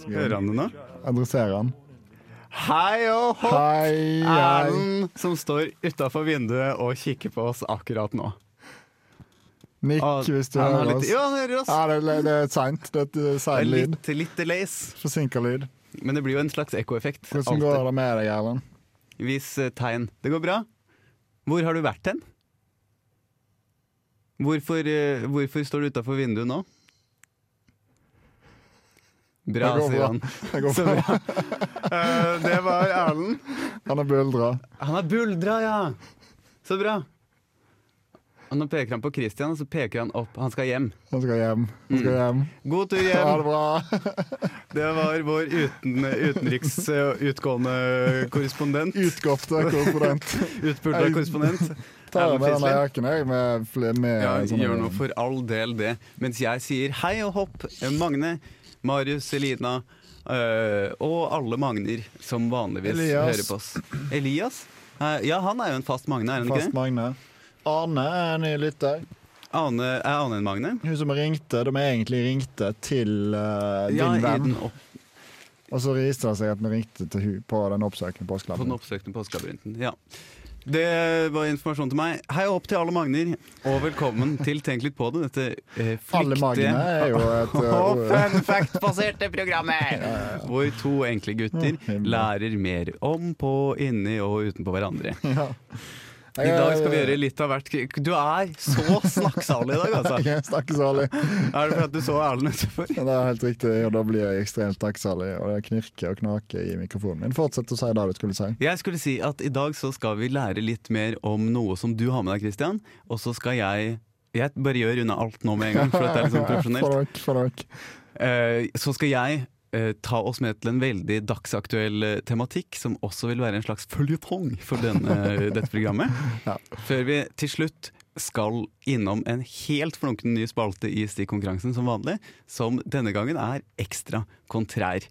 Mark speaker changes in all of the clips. Speaker 1: Skal
Speaker 2: Hører han det nå?
Speaker 1: adressere han.
Speaker 2: Hei og hopp!
Speaker 1: Hei, hei.
Speaker 2: Erlend som står utafor vinduet og kikker på oss akkurat nå.
Speaker 1: Nikk,
Speaker 2: Og
Speaker 1: hvis du
Speaker 2: han har
Speaker 1: hører
Speaker 2: litt-
Speaker 1: oss.
Speaker 2: Ja, han hører oss.
Speaker 1: Ja, det, det- det er seint. Det er et
Speaker 2: Det er
Speaker 1: sein lyd.
Speaker 2: litt, litt delays.
Speaker 1: Forsinka lyd.
Speaker 2: Men det blir jo en slags ekkoeffekt.
Speaker 1: Hvordan går det med deg, Erlend?
Speaker 2: alltid. Vis eh, tegn. Det går bra. Hvor har du vært hen? Hvorfor, eh, hvorfor står du utafor vinduet nå? Bra,
Speaker 1: Det går
Speaker 2: sier
Speaker 1: bra.
Speaker 2: han.
Speaker 1: Det går
Speaker 2: Så
Speaker 1: bra.
Speaker 2: bra. Eh, det var Erlend.
Speaker 1: Han er buldra.
Speaker 2: Han har buldra, ja! Så bra. Og nå peker han på Christian, og så peker han opp. Han skal hjem.
Speaker 1: Han skal hjem. Han skal
Speaker 2: Mm.
Speaker 1: hjem.
Speaker 2: God tur
Speaker 1: Ha
Speaker 2: hjem!
Speaker 1: det bra.
Speaker 2: Det var vår uten, utenriks eh, utgående korrespondent.
Speaker 1: Utgåtte eh, korrespondent.
Speaker 2: Utpulta
Speaker 1: Nei.
Speaker 2: korrespondent.
Speaker 1: Ta med sånn
Speaker 2: Erlend
Speaker 1: denne
Speaker 2: Fisley.
Speaker 1: jakken jeg, med, fl- med
Speaker 2: Ja,
Speaker 1: sånne-
Speaker 2: gjør nå for all del det. Mens jeg sier hei og hopp, Magne, Marius, Elina øh, og alle Magner som vanligvis
Speaker 1: Elias.
Speaker 2: hører på oss. Elias? Eh, Ja, han er jo en fast Magne, er han
Speaker 1: Fast
Speaker 2: ikke det?
Speaker 1: Magne. Arne er en ny lytter.
Speaker 2: Ane, er Ane en Magne?
Speaker 1: Hun som ringte, de egentlig ringte til eh, din
Speaker 2: Ja, i
Speaker 1: venn.
Speaker 2: den opp,
Speaker 1: Og så viste det seg at vi ringte til hun på den oppsøkende
Speaker 2: på den
Speaker 1: påskelabben.
Speaker 2: oppsøkte påskelabyrinten. Ja. Det var informasjon til meg. Hei og hopp til alle Magner, og velkommen til Tenk litt på det, dette eh,
Speaker 1: Alle magne
Speaker 2: flyktige
Speaker 1: er jo et eh,
Speaker 2: og
Speaker 1: ord.
Speaker 2: fun fact-baserte programmet! Hvor to enkle gutter
Speaker 1: Ja, himmel.
Speaker 2: lærer mer om på, inni og utenpå hverandre. I
Speaker 1: Jeg-
Speaker 2: dag skal vi gjøre litt av hvert. Du er så snakksalig i dag, altså!
Speaker 1: Jeg snakker salig.
Speaker 2: Er det for at du så Erlend utenfor?
Speaker 1: Det er helt riktig, og da blir jeg ekstremt takksalig. Og det knirker og knaker i mikrofonen min. Fortsett å si det du skulle si.
Speaker 2: Jeg skulle si at i dag så skal vi lære litt mer om noe som du har med deg, Christian. Og så skal jeg Jeg bare gjør unna alt nå med en gang, for at det er litt sånn profesjonelt.
Speaker 1: For dere, for dere.
Speaker 2: Eh, så skal jeg eh, ta oss med til en veldig dagsaktuell eh, tematikk, som også vil være en slags føljetong for denne, eh, dette programmet.
Speaker 1: Ja.
Speaker 2: Før vi til slutt skal innom en helt flunken ny spalte i Stikkonkurransen som vanlig, som denne gangen er ekstra kontrær.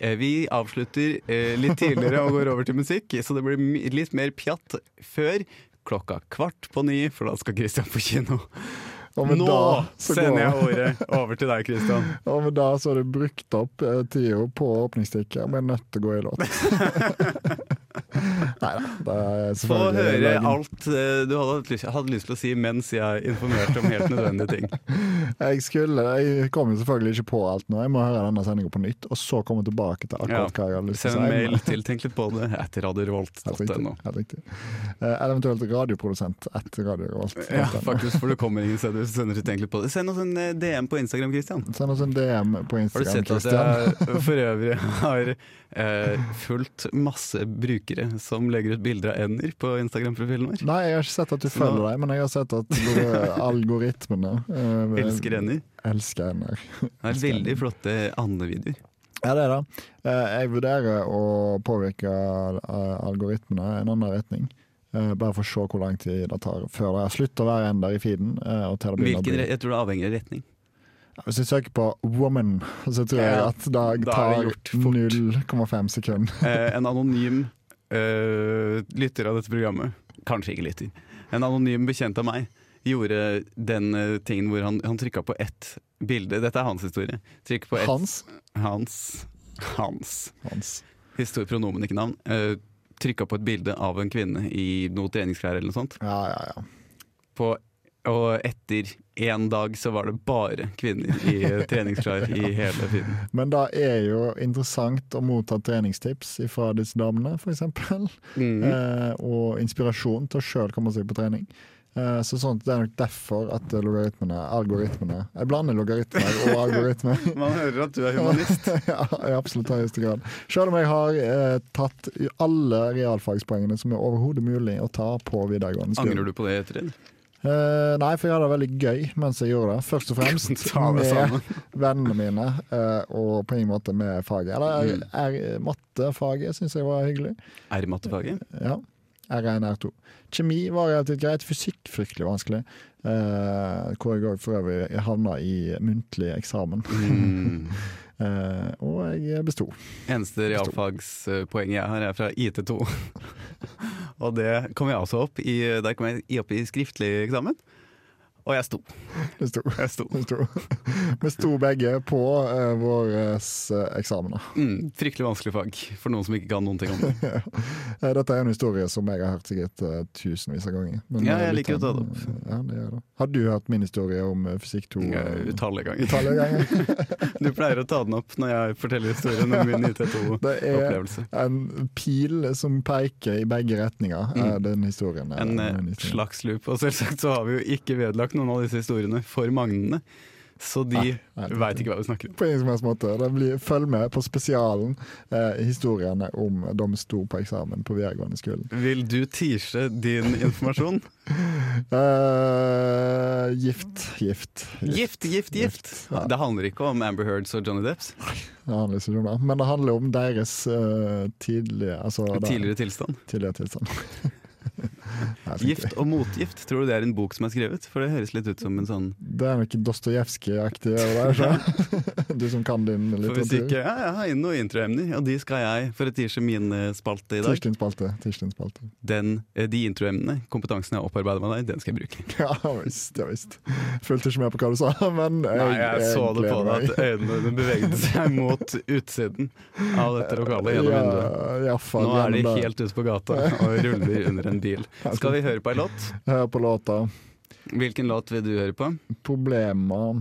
Speaker 2: Eh, Vi avslutter eh, litt tidligere og går over til musikk, så det blir mi- litt mer pjatt før klokka kvart på ni, for da skal Christian på kino.
Speaker 1: Og med
Speaker 2: Nå
Speaker 1: det så går
Speaker 2: sender jeg
Speaker 1: det.
Speaker 2: ordet over til deg, Christian.
Speaker 1: Og med det så har du brukt opp eh, tida på åpningsstikket. Vi er nødt til å gå i låt. Nei da, det er
Speaker 2: Få
Speaker 1: selvfølgelig
Speaker 2: høre
Speaker 1: løgn.
Speaker 2: alt eh, du hadde, hatt lyst- hadde lyst til å si mens jeg informerte om helt nødvendige ting.
Speaker 1: Jeg, skulle, jeg kom jo selvfølgelig ikke på alt nå. Jeg må høre denne sendinga på nytt, og så komme tilbake til akkurat hva jeg hadde lyst til
Speaker 2: Send
Speaker 1: å si.
Speaker 2: mail til Tenk litt på det etter
Speaker 1: Helt riktig.
Speaker 2: radiorevolt.no.
Speaker 1: Helt riktig. Eh, Eller eventuelt radioprodusent etter Radio Revolt.
Speaker 2: Ja, faktisk, for det kommer ingen steder hvis du sender til Tenk litt på det. Send oss en eh, DM på Instagram, Christian.
Speaker 1: Send oss en DM på
Speaker 2: Har du
Speaker 1: Instagram,
Speaker 2: sett at
Speaker 1: Christian.
Speaker 2: jeg for øvrig har eh, fulgt masse brukere som legger ut bilder av ender på Instagram-profilen vår?
Speaker 1: Nei, jeg har ikke sett at du følger deg, men jeg har sett at du- algoritmene eh,
Speaker 2: Elsker ender.
Speaker 1: Elsker ender.
Speaker 2: Det er veldig flotte andevideoer.
Speaker 1: Ja, det er det. Eh, Jeg vurderer å påvirke eh, algoritmene i en annen retning. Eh, Bare for å se hvor lang tid det tar før det slutter å være ender i feeden. eh, Og til det begynner å
Speaker 2: Hvilken
Speaker 1: bli.
Speaker 2: re- Jeg tror det avhenger av retning.
Speaker 1: Hvis jeg søker på 'woman', så tror jeg
Speaker 2: Ja,
Speaker 1: at det
Speaker 2: da er
Speaker 1: tar
Speaker 2: det gjort fort.
Speaker 1: 0,5 sekunder.
Speaker 2: Eh, en anonym eh, lytter av dette programmet, kanskje ikke lytter, en anonym bekjent av meg, gjorde den eh, tingen hvor han, han trykka på ett bilde. Dette er hans historie. Trykk på ett
Speaker 1: Hans.
Speaker 2: Hans. Hans.
Speaker 1: Hans.
Speaker 2: Historie, pronomen, ikke navn. Eh, trykka på et bilde av en kvinne i noe treningsklær eller noe sånt.
Speaker 1: Ja, ja, ja.
Speaker 2: På, og etter én dag så var det bare kvinner i eh, treningsklær i hele tiden.
Speaker 1: Men det er jo interessant å motta treningstips fra disse damene, f.eks.
Speaker 2: Mm.
Speaker 1: Eh, og inspirasjon til å sjøl komme seg på trening. Eh, så sånn, Det er nok derfor at logaritmene Algoritmene Jeg blander logaritmer og algoritmer.
Speaker 2: Man hører at du er humanist.
Speaker 1: ja, i absolutt høyeste grad. Sjøl om jeg har eh, tatt i alle realfagspoengene som er overhodet mulig å ta på videregående skole.
Speaker 2: Angrer du på det etter det?
Speaker 1: Eh, nei, for jeg hadde det veldig gøy mens jeg gjorde det. Først og fremst
Speaker 2: Ta det sammen.
Speaker 1: med vennene mine, eh, og på ingen måte med faget.
Speaker 2: Mm.
Speaker 1: Eller er, er, mattefaget syns jeg var hyggelig.
Speaker 2: Er mattefaget?
Speaker 1: Ja. R1, R2. Kjemi var relativt greit. Fysikk fryktelig vanskelig. Eh, hvor jeg òg for øvrig havna i muntlig eksamen.
Speaker 2: Mm.
Speaker 1: Eh, og jeg besto.
Speaker 2: Eneste realfagspoenget jeg har, er fra IT2. altså og det kom jeg også opp i, der kom jeg i- opp i skriftlig eksamen. Og jeg sto.
Speaker 1: Det sto.
Speaker 2: Jeg sto.
Speaker 1: Det sto. Vi sto begge på uh, våre eksamener.
Speaker 2: Mm, fryktelig vanskelig fag for noen som ikke kan noen ting om det.
Speaker 1: Eh, Dette er en historie som jeg har hørt sikkert eh, tusenvis av ganger. Men,
Speaker 2: Ja,
Speaker 1: eh,
Speaker 2: jeg liker å ta det opp.
Speaker 1: lytteren, eh, Ja, det gjør det. Hadde du hørt min historie om eh, fysikk 2? eh,
Speaker 2: Utallige ganger.
Speaker 1: utallige ganger?
Speaker 2: Du pleier å ta den opp når jeg forteller historien om min
Speaker 1: Det er
Speaker 2: IT2-opplevelse.
Speaker 1: en pil som peker i begge retninger, er den historien. eh,
Speaker 2: Mm. En eh,
Speaker 1: den historien.
Speaker 2: slags loop. Og selvsagt så har vi jo ikke vedlagt noen av disse historiene for magnene, så de
Speaker 1: nei, det-
Speaker 2: veit ikke hva vi snakker om.
Speaker 1: På ingen som helst måte. Det blir, følg med på spesialen eh, historiene om de sto på eksamen på videregående skolen.
Speaker 2: Vil du tease din informasjon?
Speaker 1: Eh, gift, gift,
Speaker 2: Gift, gift, gift!
Speaker 1: Ja.
Speaker 2: Det handler ikke om Amber Heards og Johnny Depps
Speaker 1: Det handler ikke om det. Men det handler om deres eh, tidlige altså, da-
Speaker 2: tidligere tilstand.
Speaker 1: tidligere tilstand. Nei, tenkte jeg.
Speaker 2: Gift og motgift, tror du det er en bok som er skrevet? For det høres litt ut som en sånn
Speaker 1: Det er noe Dostojevskij-aktig over det. ikke? Du som kan din
Speaker 2: For hvis ikke,
Speaker 1: litteratur.
Speaker 2: ja, jeg har noen introemner, og de skal jeg for å tease min eh, spalte i dag.
Speaker 1: Tirsdagsspalte. Tirsdagsspalte.
Speaker 2: Den, eh, de introemnene, kompetansen jeg har opparbeidet meg der, den skal jeg bruke.
Speaker 1: Ja visst, ja visst. Fulgte ikke med på hva du sa, men jeg,
Speaker 2: Nei, jeg så det på
Speaker 1: gleder
Speaker 2: deg
Speaker 1: meg.
Speaker 2: at øynene dine beveget seg mot utsiden av dette lokalet gjennom vinduet.
Speaker 1: Ja, i alle fall
Speaker 2: Nå er de
Speaker 1: gjennom det.
Speaker 2: helt ute på gata og ruller under en bil. Skal vi høre på ei låt?
Speaker 1: Hør på låta.
Speaker 2: Hvilken låt vil du høre på?
Speaker 1: Probleman.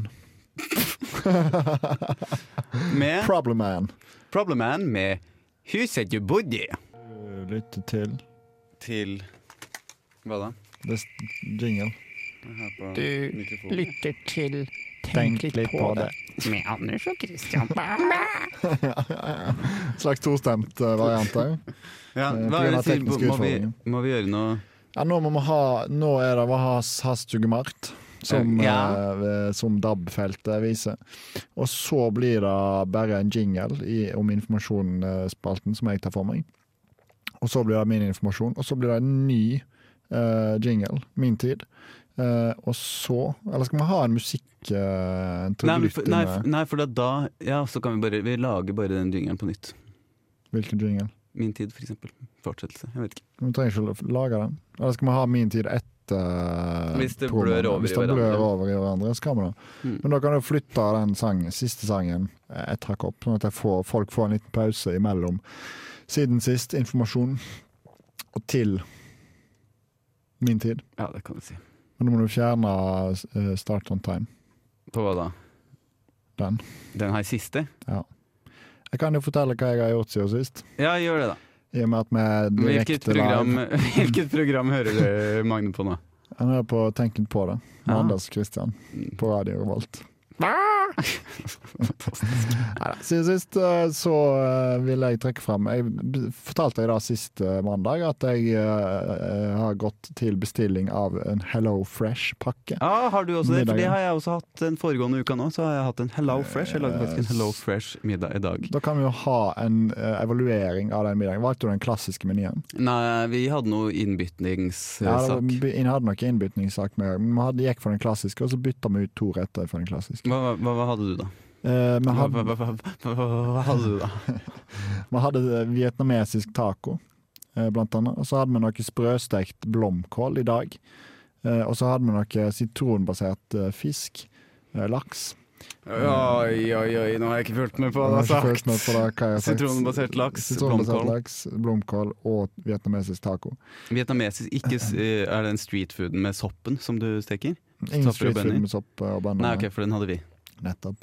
Speaker 2: Med
Speaker 1: Problem Man.
Speaker 2: Problem Man med Huset du bodde i.
Speaker 1: Lytte til
Speaker 2: Til Hva da?
Speaker 1: det s- jingle.
Speaker 2: Her på
Speaker 3: Du
Speaker 2: mikrofonen.
Speaker 3: lytter til
Speaker 1: Tenk litt på det.
Speaker 3: med Anders og Christian.
Speaker 1: Slags tostemt eh, variant her.
Speaker 2: Ja,
Speaker 1: Eh,
Speaker 2: hva er det
Speaker 1: pga.
Speaker 2: til?
Speaker 1: tekniske
Speaker 2: Må vi,
Speaker 1: utfordringer.
Speaker 2: må vi gjøre noe
Speaker 1: Ja, nå, må vi ha, nå er det Vahas Hastugemart som,
Speaker 2: Ja.
Speaker 1: eh, som DAB-feltet viser. Og så blir det bare en jingle i, om informasjonsspalten som jeg tar for meg. Og så blir det min informasjon, og så blir det en ny eh, jingle, min tid. Eh, og så Eller skal vi ha en musikk... Uh,
Speaker 2: nei, men for, nei, f- nei, for da, da Ja, så kan vi bare Vi lager bare den jingeren på nytt.
Speaker 1: Hvilken jingle?
Speaker 2: Min tid, for eksempel. Fortsettelse. Jeg vet ikke.
Speaker 1: Vi trenger ikke å lage den. Eller skal vi ha min tid etter
Speaker 2: Hvis det
Speaker 1: promoen?
Speaker 2: blør over
Speaker 1: Hvis
Speaker 2: i
Speaker 1: det
Speaker 2: hverandre.
Speaker 1: blør over i hverandre, så kan vi det.
Speaker 2: Mm.
Speaker 1: Men da kan du flytte den sangen, siste sangen eh, et hakk opp, sånn at jeg får, folk får en liten pause imellom siden sist informasjon og til min tid.
Speaker 2: Ja, det kan du si.
Speaker 1: Men nå må du fjerne eh, start on time.
Speaker 2: På hva da?
Speaker 1: Den.
Speaker 2: Den her siste?
Speaker 1: Jeg kan jo fortelle hva jeg har gjort siden sist.
Speaker 2: Ja, gjør det, da.
Speaker 1: I og med at vi er
Speaker 2: Hvilket
Speaker 1: direkte
Speaker 2: program,
Speaker 1: live.
Speaker 2: hvilket program hører du Magne på nå?
Speaker 1: Han er på Tenk litt på det. Med
Speaker 2: Ja.
Speaker 1: Anders Kristian
Speaker 2: Hmm.
Speaker 1: på Radio Revolt. Neida, Siden sist eh, så eh, vil jeg trekke fram Jeg b- fortalte jeg da sist eh, mandag at jeg eh, har gått til bestilling av en Hello Fresh-pakke.
Speaker 2: Ja, har du også det? For det
Speaker 1: Middagen.
Speaker 2: har jeg også hatt den foregående uka nå. Så har jeg hatt en Hello Fresh. Jeg lagde faktisk en Hello Fresh-middag i dag.
Speaker 1: Da kan vi jo ha en eh, evaluering av den middagen. Valgte du den klassiske menyen?
Speaker 2: Nei, vi hadde noe
Speaker 1: Ja, det var-
Speaker 2: innbytningssak.
Speaker 1: vi hadde nok innbytningssak med men Vi hadde- gikk for den klassiske, og så bytta vi ut to retter for den klassiske.
Speaker 2: Hva, hva, hva hadde du, da?
Speaker 1: Eh, Vi
Speaker 2: Hva,
Speaker 1: hadde,
Speaker 2: hva, hva, hva, hva, hva hadde du, da?
Speaker 1: vi hadde vietnamesisk taco, eh, blant annet. Og så hadde vi noe sprøstekt blomkål i dag. Eh, Og så hadde vi noe sitronbasert eh, fisk. eh, Laks.
Speaker 2: Oi, oi, oi, nå har jeg ikke fulgt med på
Speaker 1: Jeg
Speaker 2: hva
Speaker 1: har
Speaker 2: du
Speaker 1: ikke
Speaker 2: har
Speaker 1: følt meg på
Speaker 2: sagt.
Speaker 1: det, hva jeg har sagt.
Speaker 2: Sitronbasert laks,
Speaker 1: Sitronbasert
Speaker 2: blomkål.
Speaker 1: laks, blomkål og vietnamesisk taco.
Speaker 2: Vietnamesisk ikke, s- eh, Er den streetfooden med soppen som du steker?
Speaker 1: Ingen
Speaker 2: Stopper og bønner?
Speaker 1: streetfood med sopp eh, og bønner.
Speaker 2: Nei, ok, for den hadde vi.
Speaker 1: Nettopp.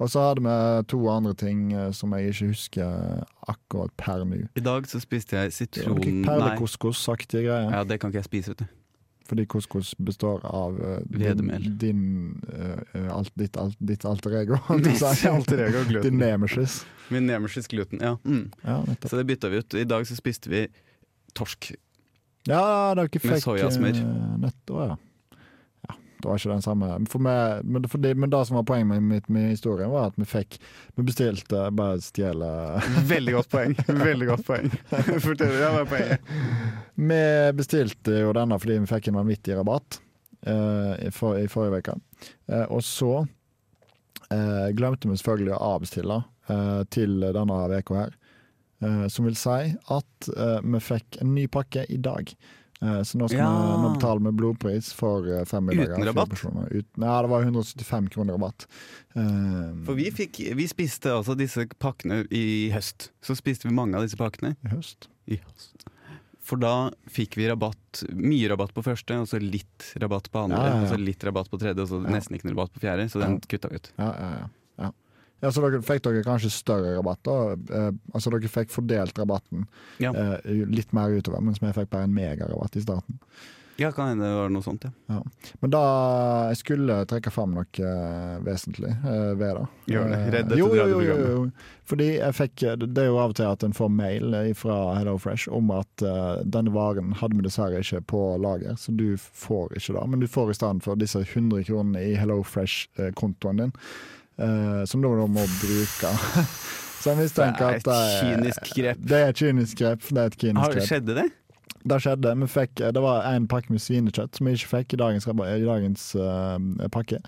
Speaker 1: Og så hadde vi to andre ting eh, som jeg ikke husker akkurat per nå.
Speaker 2: I dag så spiste jeg
Speaker 1: Det var
Speaker 2: sitron...
Speaker 1: noe
Speaker 2: Nei.
Speaker 1: Perlekoskos-aktige greier.
Speaker 2: Ja, det kan ikke jeg spise, vet du.
Speaker 1: Fordi couscous består av eh,
Speaker 2: Hvedemel.
Speaker 1: din, din eh, eh, alt, ditt, alt, ditt alter ego.
Speaker 2: Mitt alter ego, gluten.
Speaker 1: Din nemesis.
Speaker 2: Min nemesis gluten, ja. Mm.
Speaker 1: Ja, nettopp.
Speaker 2: Så det bytta vi ut. I dag så spiste vi torsk.
Speaker 1: Ja, dere fikk
Speaker 2: Med sojasmør.
Speaker 1: eh, Nettopp, ja. ja. Det var ikke den samme. For meg, men, for det, men det som var poenget med, mitt- med historien, var at vi fikk Vi bestilte bare stjele
Speaker 2: Veldig godt poeng. Veldig godt poeng. Fortell, ja, hva er poenget?
Speaker 1: Vi bestilte jo denne fordi vi fikk en vanvittig rabatt eh, i, for, i forrige uke. Eh, og så eh, glemte vi selvfølgelig å avbestille eh, til denne uka her. Eh, som vil si at eh, vi fikk en ny pakke i dag. Eh, Så nå, skal
Speaker 2: Ja.
Speaker 1: vi, nå betaler vi blodpris for eh, fem middager.
Speaker 2: Uten
Speaker 1: fire
Speaker 2: rabatt?
Speaker 1: personer. Uten, ja, det var 175 kroner rabatt. Eh,
Speaker 2: For vi, fikk, vi spiste altså disse pakkene i høst. Så spiste vi mange av disse pakkene.
Speaker 1: I høst.
Speaker 2: I høst. For da fikk vi rabatt, mye rabatt på første, og så litt rabatt på andre.
Speaker 1: Ja, ja, ja.
Speaker 2: Og så litt rabatt på tredje, og så nesten ikke noe rabatt på fjerde. Så den kutta vi ut.
Speaker 1: Ja, ja, ja. ja. ja så dere fikk dere kanskje større rabatt, da. Eh, altså dere fikk fordelt rabatten
Speaker 2: Ja.
Speaker 1: eh, litt mer utover, mens vi fikk bare en megarabatt i starten.
Speaker 2: Ja, kan hende det var noe sånt, ja.
Speaker 1: Men da jeg skulle trekke fram noe eh, vesentlig eh, ved det.
Speaker 2: Gjør det.
Speaker 1: Eh,
Speaker 2: Redd dette
Speaker 1: jo, jo, jo, jo,
Speaker 2: radioprogrammet.
Speaker 1: jo. Fordi jeg fikk, eh, det er jo av og til at en får mail eh, fra Hello Fresh om at eh, denne varen hadde vi dessverre ikke på lager, så du får ikke det. Men du får i stedet for disse 100 kronene i Hello Fresh-kontoen din, eh, som du da må bruke. Så jeg mistenker at
Speaker 2: Det er et kynisk grep.
Speaker 1: Det er et kynisk grep. Det er et kynisk
Speaker 2: Har,
Speaker 1: grep.
Speaker 2: skjedde det?
Speaker 1: Det skjedde. Vi fikk, det var en pakke med svinekjøtt som vi ikke fikk i dagens, rabba- i dagens eh, pakke.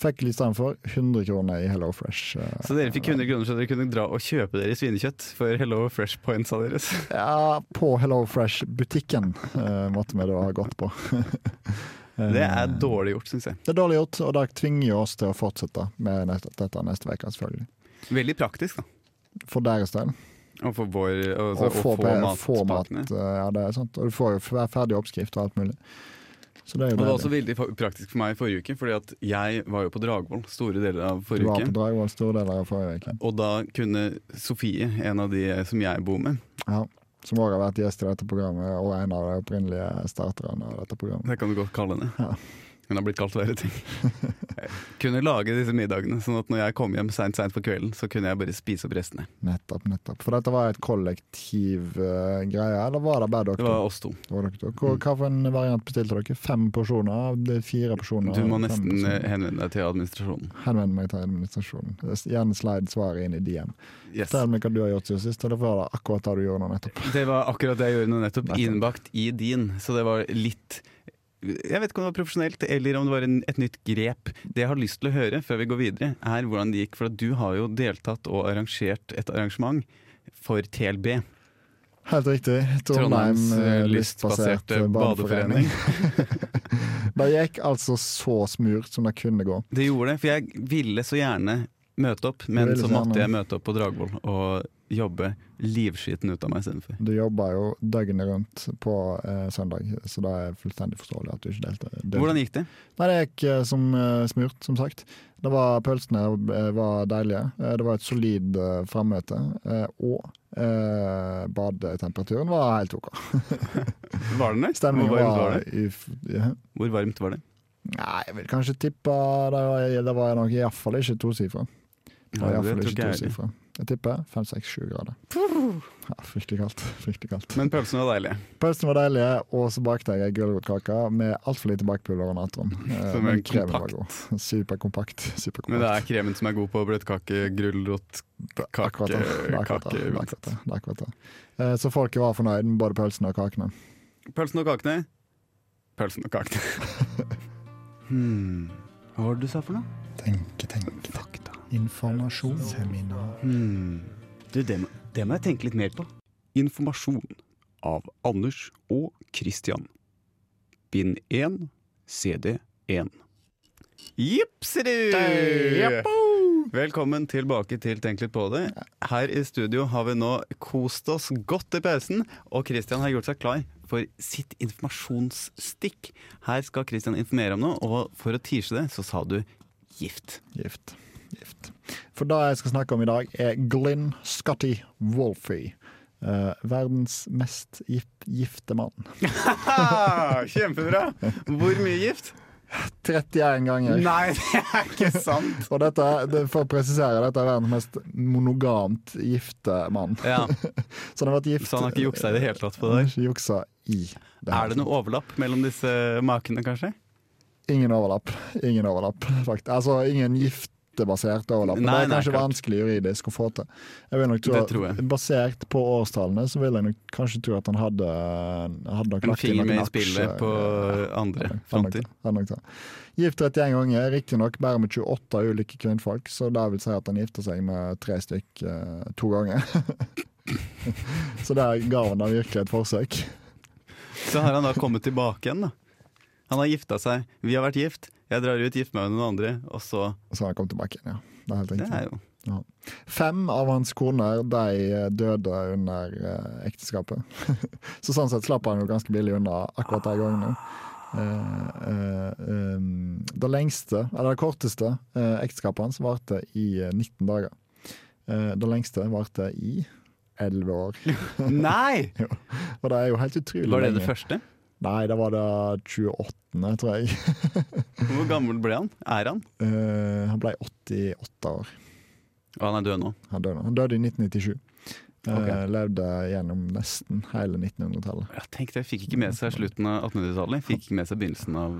Speaker 1: Fikk i stedet for 100 kroner i Hello Fresh. eh.
Speaker 2: Så dere fikk 100 kroner så dere kunne dra og kjøpe dere svinekjøtt for Hello Fresh Pointsa deres?
Speaker 1: ja, på Hello Fresh-butikken eh, måtte vi da ha gått på. Eh,
Speaker 2: Det er dårlig gjort, syns jeg.
Speaker 1: Det er dårlig gjort, og det tvinger jo oss til å fortsette med neste, dette neste uke, selvfølgelig.
Speaker 2: Veldig praktisk, da.
Speaker 1: For deres del.
Speaker 2: Og for vår og,
Speaker 1: Og få,
Speaker 2: Altså, få
Speaker 1: pe- få mat.
Speaker 2: matpakkene.
Speaker 1: eh, Ja, det er sant. Og du får jo fer- ferdig oppskrift og alt mulig. Så det er jo
Speaker 2: Og det var også
Speaker 1: deilig.
Speaker 2: veldig fa- praktisk for meg i forrige uke, fordi at jeg var jo på Dragvoll store deler av
Speaker 1: Du
Speaker 2: forrige
Speaker 1: var på
Speaker 2: uke.
Speaker 1: Dragvoll store deler av forrige uke.
Speaker 2: Og da kunne Sofie, en av de som jeg bor med
Speaker 1: Ja, som òg har vært gjest i dette programmet, og en av de opprinnelige starterne av dette programmet.
Speaker 2: Det kan du godt kalle henne.
Speaker 1: Ja.
Speaker 2: Hun har blitt kalt verre ting. kunne lage disse middagene, sånn at når jeg kom hjem seint seint på kvelden, så kunne jeg bare spise opp restene.
Speaker 1: Nettopp, nettopp. For dette var et kollektiv eh, greie, eller var det bare
Speaker 2: Det
Speaker 1: dere?
Speaker 2: var oss to.
Speaker 1: Det var dere to. Hvor- Hva for en variant bestilte dere? Fem porsjoner? Det er fire porsjoner?
Speaker 2: Du må
Speaker 1: fem
Speaker 2: nesten eh,
Speaker 1: porsjoner.
Speaker 2: henvende deg til administrasjonen.
Speaker 1: Henvend meg til administrasjonen. Gjerne slide svaret inn i DM.
Speaker 2: Yes.
Speaker 1: Fortell meg hva du har gjort siden sist, eller var det akkurat det du gjorde nå nettopp?
Speaker 2: Det var akkurat det jeg gjorde nå nettopp.
Speaker 1: Nettopp.
Speaker 2: Innbakt i din. Så det var litt Jeg vet ikke om det var profesjonelt, eller om det var en, et nytt grep. Det jeg har lyst til å høre før vi går videre, er hvordan det gikk. For at du har jo deltatt og arrangert et arrangement for TLB.
Speaker 1: Helt riktig.
Speaker 2: Trondheims eh,
Speaker 1: eh,
Speaker 2: lystbaserte badeforening.
Speaker 1: Det gikk altså så smurt som det kunne gå.
Speaker 2: Det gjorde det, for jeg ville så gjerne møte opp, men
Speaker 1: ville
Speaker 2: så
Speaker 1: så gjerne.
Speaker 2: måtte jeg møte opp på Dragvoll og jobbe livskiten ut av meg istedenfor.
Speaker 1: Du jobber jo døgnet rundt på eh, søndag, så det er fullstendig forståelig at du ikke delte. delte.
Speaker 2: Hvordan gikk det?
Speaker 1: Nei, Det gikk eh, som eh, smurt, som sagt. Det var, pølsene eh, var deilige. Eh, Det var et solid eh, frammøte. eh, Og eh, badetemperaturen var helt OK.
Speaker 2: Var den der? Hvor
Speaker 1: Stemningen
Speaker 2: varmt
Speaker 1: var,
Speaker 2: var det?
Speaker 1: uf- ja.
Speaker 2: Hvor varmt var det?
Speaker 1: Nei, jeg vil kanskje tippe Det var, det var nok iallfall ikke tosifra. Det var i
Speaker 2: Ja,
Speaker 1: hvert
Speaker 2: det
Speaker 1: fall ikke
Speaker 2: tror ikke jeg heller.
Speaker 1: tosifra. Jeg tipper fem, seks, sju grader. Ja, fryktelig kaldt. Fryktelig kaldt.
Speaker 2: Men pølsene var deilige.
Speaker 1: Pølsene var deilige, og så bakte jeg ei gulrotkake med altfor lite bakpulver og natron. Eh,
Speaker 2: Som er
Speaker 1: men kremen var
Speaker 2: kompakt.
Speaker 1: god. Superkompakt.
Speaker 2: Men det er
Speaker 1: superkompakt.
Speaker 2: kremen som er god på bløtkake, gulrot, kake,
Speaker 1: Akkurat det. Det er akkurat det. Det er
Speaker 2: kake
Speaker 1: akkurat det. Det er akkurat det. Eh, Så folket var fornøyd med både pølsene og kakene.
Speaker 2: Pølsen og kakene. Pølsen og kakene. hmm. Hva var det du sa for noe?
Speaker 1: Tenke, tenke.
Speaker 2: Fakta.
Speaker 1: Informasjon. Seminar.
Speaker 2: Hmm. Du, det, må, det må jeg tenke litt mer på. Informasjon av Anders og Christian. Bind 1, CD 1. Jipserud! Velkommen tilbake til Tenk litt på det. Her i studio har vi nå kost oss godt i pausen, og Christian har gjort seg klar for sitt informasjonsstikk. Her skal Christian informere om noe, og for å tease det, så sa du gift.
Speaker 1: Gift. Gift. For det jeg skal snakke om i dag, er Glynn Scotty Wolfie. Eh, verdens mest gift, gifte mann.
Speaker 2: Kjempebra! Hvor mye gift?
Speaker 1: 31 ganger.
Speaker 2: Nei, det er ikke sant!
Speaker 1: Og dette, det, for å presisere, dette er verdens mest monogamt gifte mann.
Speaker 2: Ja,
Speaker 1: Så han har vært gift
Speaker 2: Så han har ikke juksa i det hele tatt på
Speaker 1: Han
Speaker 2: det
Speaker 1: har
Speaker 2: der?
Speaker 1: ikke juksa i det
Speaker 2: Er
Speaker 1: hele
Speaker 2: det noe overlapp mellom disse makene, kanskje?
Speaker 1: tatt. Ingen overlapp. Ingen overlapp, faktisk. Altså ingen giftebasert overlapp.
Speaker 2: Nei,
Speaker 1: det er
Speaker 2: nei,
Speaker 1: kanskje
Speaker 2: klart.
Speaker 1: vanskelig juridisk å få til. Jeg vil nok tro,
Speaker 2: Det tror jeg.
Speaker 1: Basert på årstallene så vil jeg nok kanskje tro at han hadde, hadde nok
Speaker 2: En
Speaker 1: lagt inn noen
Speaker 2: finger med i
Speaker 1: aksjer.
Speaker 2: spillet på andre
Speaker 1: Han nok-
Speaker 2: fronter.
Speaker 1: han nok det. Gift 31 ganger, riktignok bare med 28 ulike kvinnfolk, så det vil si at han gifter seg med tre stykk eh, to ganger. så der ga han da virkelig et forsøk.
Speaker 2: Så har han da kommet tilbake igjen, da. Han har gifta seg. Vi har vært gift. Jeg drar ut, gifter meg med noen andre, og så
Speaker 1: Så han kom tilbake igjen, ja. Det er helt
Speaker 2: Det
Speaker 1: riktig.
Speaker 2: er jo
Speaker 1: Fem av hans koner de eh, døde under eh, ekteskapet. så sånn sett slapp han jo ganske billig unna akkurat de gangene. Eh, eh, eh, det lengste, eller det korteste eh, ekteskapet hans varte i eh, 19 dager. Eh, det lengste varte i 11 år.
Speaker 2: Nei!
Speaker 1: Og det er jo helt utrolig
Speaker 2: Var det det
Speaker 1: lenge.
Speaker 2: første?
Speaker 1: Nei, det var det 28., tror jeg.
Speaker 2: Hvor gammel ble han? Er han?
Speaker 1: Eh, han ble 88 år.
Speaker 2: Og han er død nå.
Speaker 1: Han døde, han døde i 1997. Eh,
Speaker 2: Ok.
Speaker 1: levde gjennom nesten hele 1900-tallet.
Speaker 2: Ja, tenk det, Fikk ikke med seg slutten av 1800-tallet. Fikk ikke med seg begynnelsen av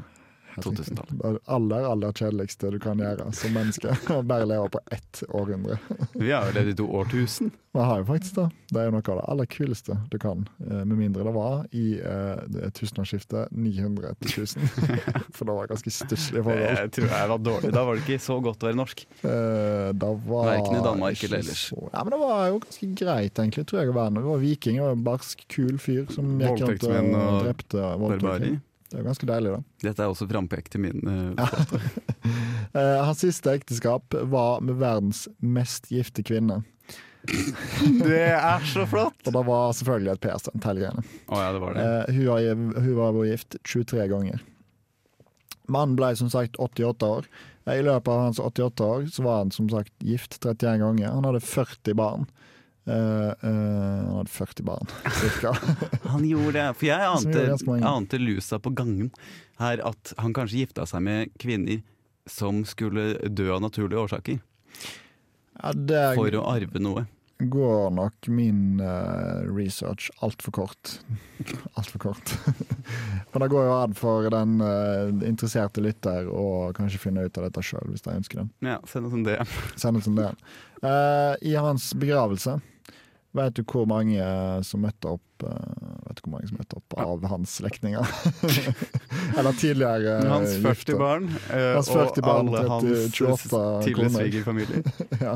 Speaker 1: Helt riktig.
Speaker 2: 2000-tallet.
Speaker 1: Det er det aller, aller kjedeligste du kan gjøre som menneske. å Bare leve på ett århundre.
Speaker 2: Vi har jo levd i to årtusen.
Speaker 1: Man har jo faktisk det. Det er jo noe av det aller kuleste du kan. eh, Med mindre det var i eh, det tusenårsskiftet 900 til 1000. For det var ganske stusslige forhold.
Speaker 2: Jeg tror jeg var dårlig. Da var det ikke så godt å være norsk.
Speaker 1: Eh, Det var
Speaker 2: Verken i Danmark
Speaker 1: ikke
Speaker 2: eller ellers.
Speaker 1: så- Ja, men det var jo ganske greit, egentlig, tror jeg, å være når du var viking og en barsk, kul fyr som gikk rundt
Speaker 2: Voldtektsmenn
Speaker 1: og
Speaker 2: og
Speaker 1: drepte voldtekter.
Speaker 2: Barbarer.
Speaker 1: Det er jo ganske deilig, da.
Speaker 2: Dette er også frampekt til min eh,
Speaker 1: Eh, hans siste ekteskap var med verdens mest gifte kvinne.
Speaker 2: Det er så flott!
Speaker 1: Og det var selvfølgelig et PR-stunt, hele greiene.
Speaker 2: Å ja, det var det.
Speaker 1: Eh, hun, har, hun var vært gift 23 ganger. Mannen ble som sagt 88 år. Eh, I løpet av hans 88 år så var han som sagt gift 31 ganger. Han hadde 40 barn. Eh, eh, han hadde 40 barn, cirka.
Speaker 2: Han gjorde det. For jeg
Speaker 1: Som gjorde ganske
Speaker 2: ante,
Speaker 1: mange.
Speaker 2: ante lusa på gangen her at han kanskje gifta seg med kvinner som skulle dø av naturlige årsaker.
Speaker 1: Ja, der
Speaker 2: For å arve noe.
Speaker 1: går nok min eh, research altfor kort. Altfor kort. Men det går jo an for den eh, interesserte lytter å kanskje finne ut av dette sjøl, hvis de ønsker det.
Speaker 2: Ja, se noe som det.
Speaker 1: Send det som det. Uh, I hans begravelse Vet du hvor mange som møtte opp eh, Vet du hvor mange som møtte opp av hans slektninger? Eller tidligere eh,
Speaker 2: Hans 40
Speaker 1: gifte.
Speaker 2: barn, eh,
Speaker 1: Hans 40
Speaker 2: og
Speaker 1: barn,
Speaker 2: alle
Speaker 1: 30,
Speaker 2: hans
Speaker 1: 28
Speaker 2: tidligere
Speaker 1: koner.
Speaker 2: svigerfamilier.
Speaker 1: Ja.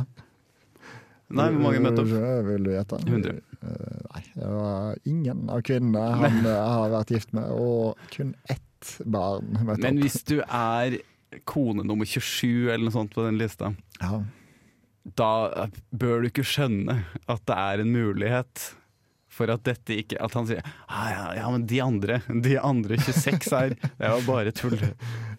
Speaker 2: Nei, hvor mange møtte opp?
Speaker 1: Vil du gjette?
Speaker 2: 100.
Speaker 1: Eh, nei, det var ingen av kvinnene han eh, har vært gift med, og kun ett barn møtte
Speaker 2: Men
Speaker 1: opp.
Speaker 2: hvis du er kone nummer 27 eller noe sånt på den lista,
Speaker 1: Ja.
Speaker 2: da bør du ikke skjønne at det er en mulighet for at dette ikke At han sier ah, ja, ja, men de andre, de andre 26 her, det var bare tull.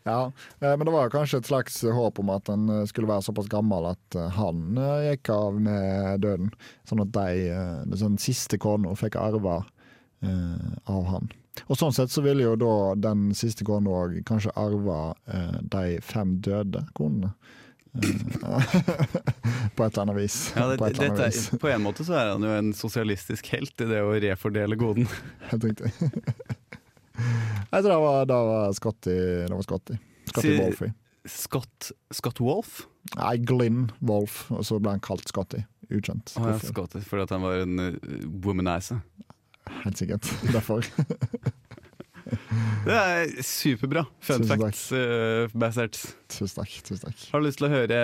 Speaker 1: Ja, eh, Men det var jo kanskje et slags håp om at han eh, skulle være såpass gammel at eh, han eh, gikk av med døden. Sånn at de, eh, den sånn siste kona fikk arve eh, av han. Og sånn sett så ville jo da den siste kona òg kanskje arve eh, de fem døde konene. Eh, på et eller annet vis.
Speaker 2: Ja, det,
Speaker 1: på et eller annet
Speaker 2: dette,
Speaker 1: vis.
Speaker 2: er- på en måte så er han jo en sosialistisk helt i det å refordele goden.
Speaker 1: Helt riktig. Jeg tror det var, det var Scotty Det var Scotty. Scotty
Speaker 2: Si-
Speaker 1: Wolfie.
Speaker 2: Scott, Scott Wolf?
Speaker 1: Nei, Glynn Wolf, og så ble han kalt Scotty. Ukjent.
Speaker 2: Å, ja,
Speaker 1: Hvorfor?
Speaker 2: Scott, fordi at han var en eh, womanizer.
Speaker 1: Helt sikkert. Derfor.
Speaker 2: Det er superbra. Fun
Speaker 1: Tusen takk.
Speaker 2: facts, uh, Bassarts.
Speaker 1: Tusen takk. Tusen takk.
Speaker 2: Har du lyst til å høre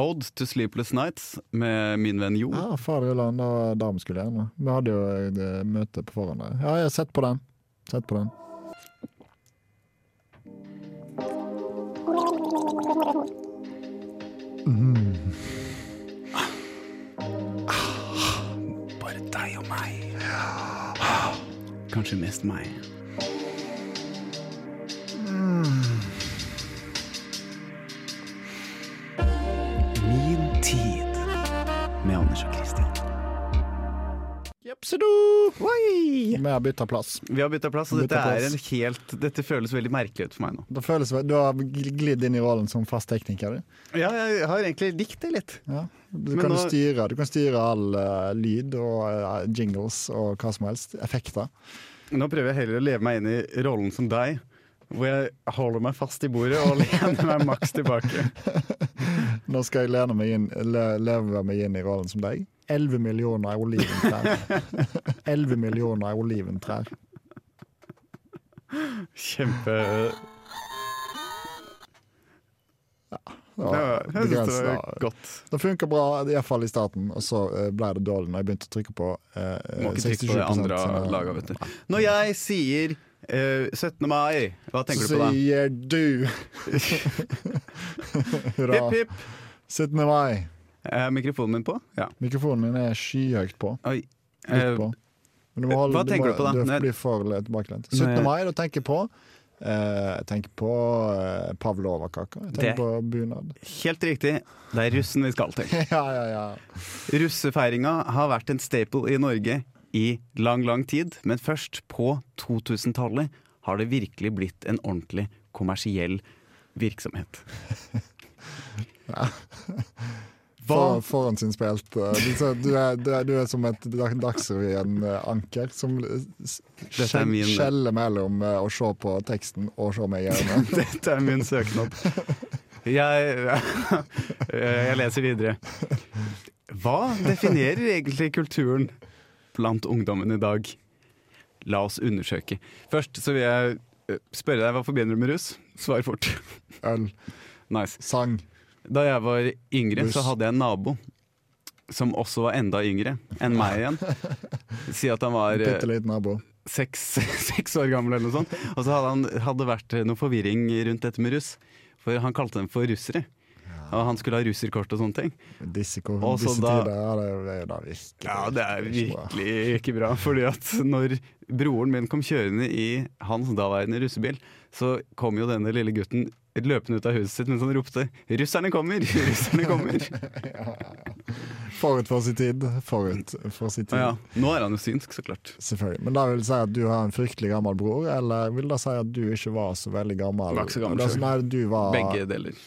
Speaker 2: Ode to Sleepless Nights med min venn Jo?
Speaker 1: Ja, Faderland og dame skulle gjerne. Vi hadde jo et møte på forhånd. der. Ja, jeg har sett på den. Sett på den.
Speaker 2: Bare deg og meg. Kanskje mest meg. Min tid med Anders og Christian.
Speaker 1: Jepsedo! Vi har bytta plass.
Speaker 2: Vi har bytta plass, og
Speaker 1: Byttet
Speaker 2: dette, er
Speaker 1: plass.
Speaker 2: en helt, dette føles veldig merkelig ut for meg nå.
Speaker 1: Det føles som Du har glidd inn i rollen som fast tekniker. du.
Speaker 2: Ja, jeg har egentlig likt det litt.
Speaker 1: Ja. Du,
Speaker 2: Men
Speaker 1: kan jo
Speaker 2: nå-
Speaker 1: styre, du kan styre all eh, lyd og eh, jingles og hva som helst. Effekter.
Speaker 2: Nå prøver jeg heller å leve meg inn i rollen som deg, hvor jeg holder meg fast i bordet og lener meg maks tilbake.
Speaker 1: Nå skal jeg lene meg inn, le, leve meg inn i rollen som deg. 11 millioner oliventrær. 11 millioner oliventrær.
Speaker 2: Kjempe
Speaker 1: Det
Speaker 2: Ja,
Speaker 1: var
Speaker 2: jeg syns det var
Speaker 1: begrenset.
Speaker 2: godt.
Speaker 1: Det funka bra, iallfall i starten, og så eh, ble det dårlig når jeg begynte å trykke på eh,
Speaker 2: Må ikke trykke på det
Speaker 1: 67%
Speaker 2: andre
Speaker 1: sine-
Speaker 2: laget, vet du. Når jeg sier eh, 17. mai, hva tenker du på da?
Speaker 1: Sier du! Hurra.
Speaker 2: Hipp, hipp.
Speaker 1: 17. mai.
Speaker 2: Er mikrofonen min på? Ja. Eh,
Speaker 1: Mikrofonen din er skyhøyt på.
Speaker 2: Oi.
Speaker 1: Litt på. Men du må holde,
Speaker 2: hva tenker du på da?
Speaker 1: Du
Speaker 2: Nei.
Speaker 1: må- blir for le- tilbakelent.
Speaker 2: Nei.
Speaker 1: 17. mai, da tenker jeg på eh, Jeg tenker på eh, pavlova-kaka. Jeg
Speaker 2: Det-
Speaker 1: tenker på bunad.
Speaker 2: Eh, helt riktig, det er russen vi skal til.
Speaker 1: ja, ja, ja.
Speaker 2: Russefeiringa har vært en staple i Norge i lang, lang tid, men først på 2000-tallet har det virkelig blitt en ordentlig kommersiell virksomhet.
Speaker 1: For,
Speaker 2: Hva?
Speaker 1: forhåndsinnspilt. eh, liksom, Du er, du, er, du er som et dag- Dagsrevyen-anker som s-
Speaker 2: Dette er min-
Speaker 1: skjeller mellom eh, å se på teksten og se meg i øynene.
Speaker 2: Dette er min søknad. Jeg, eh, jeg leser videre. Hva definerer egentlig kulturen blant ungdommen i dag? La oss undersøke. Først så vil jeg eh, spørre deg hva forbinder du med russ. Svar fort.
Speaker 1: Øl,
Speaker 2: Nice.
Speaker 1: sang.
Speaker 2: Da jeg var yngre,
Speaker 1: Buss.
Speaker 2: så hadde jeg en nabo som også var enda yngre enn meg igjen. Si at han var eh,
Speaker 1: Bitte liten nabo.
Speaker 2: seks, seks år gammel eller noe sånt. Og så hadde han hadde vært eh, noe forvirring rundt dette med russ, for han kalte dem for russere. Og han skulle ha russerkort og sånne ting.
Speaker 1: Disse, ko-
Speaker 2: Og så
Speaker 1: disse
Speaker 2: da-
Speaker 1: tider ja, det, er- det er jo da virkelig
Speaker 2: Ja, det er
Speaker 1: ikke bra.
Speaker 2: virkelig ikke bra. Fordi at når broren min kom kjørende i hans daværende russebil, så kom jo denne lille gutten løpende ut av huset sitt mens han ropte 'russerne kommer', 'russerne kommer'.
Speaker 1: Forut for sin tid. Forut for sin tid.
Speaker 2: Ja, ja. Nå er han jo synsk, så klart.
Speaker 1: Selvfølgelig. Men da vil det si at du har en fryktelig gammel bror, eller vil det si at du ikke var så veldig gammel?
Speaker 2: Var ikke så gammel
Speaker 1: Det er sånn,
Speaker 2: selv.
Speaker 1: nei, du var
Speaker 2: Begge deler.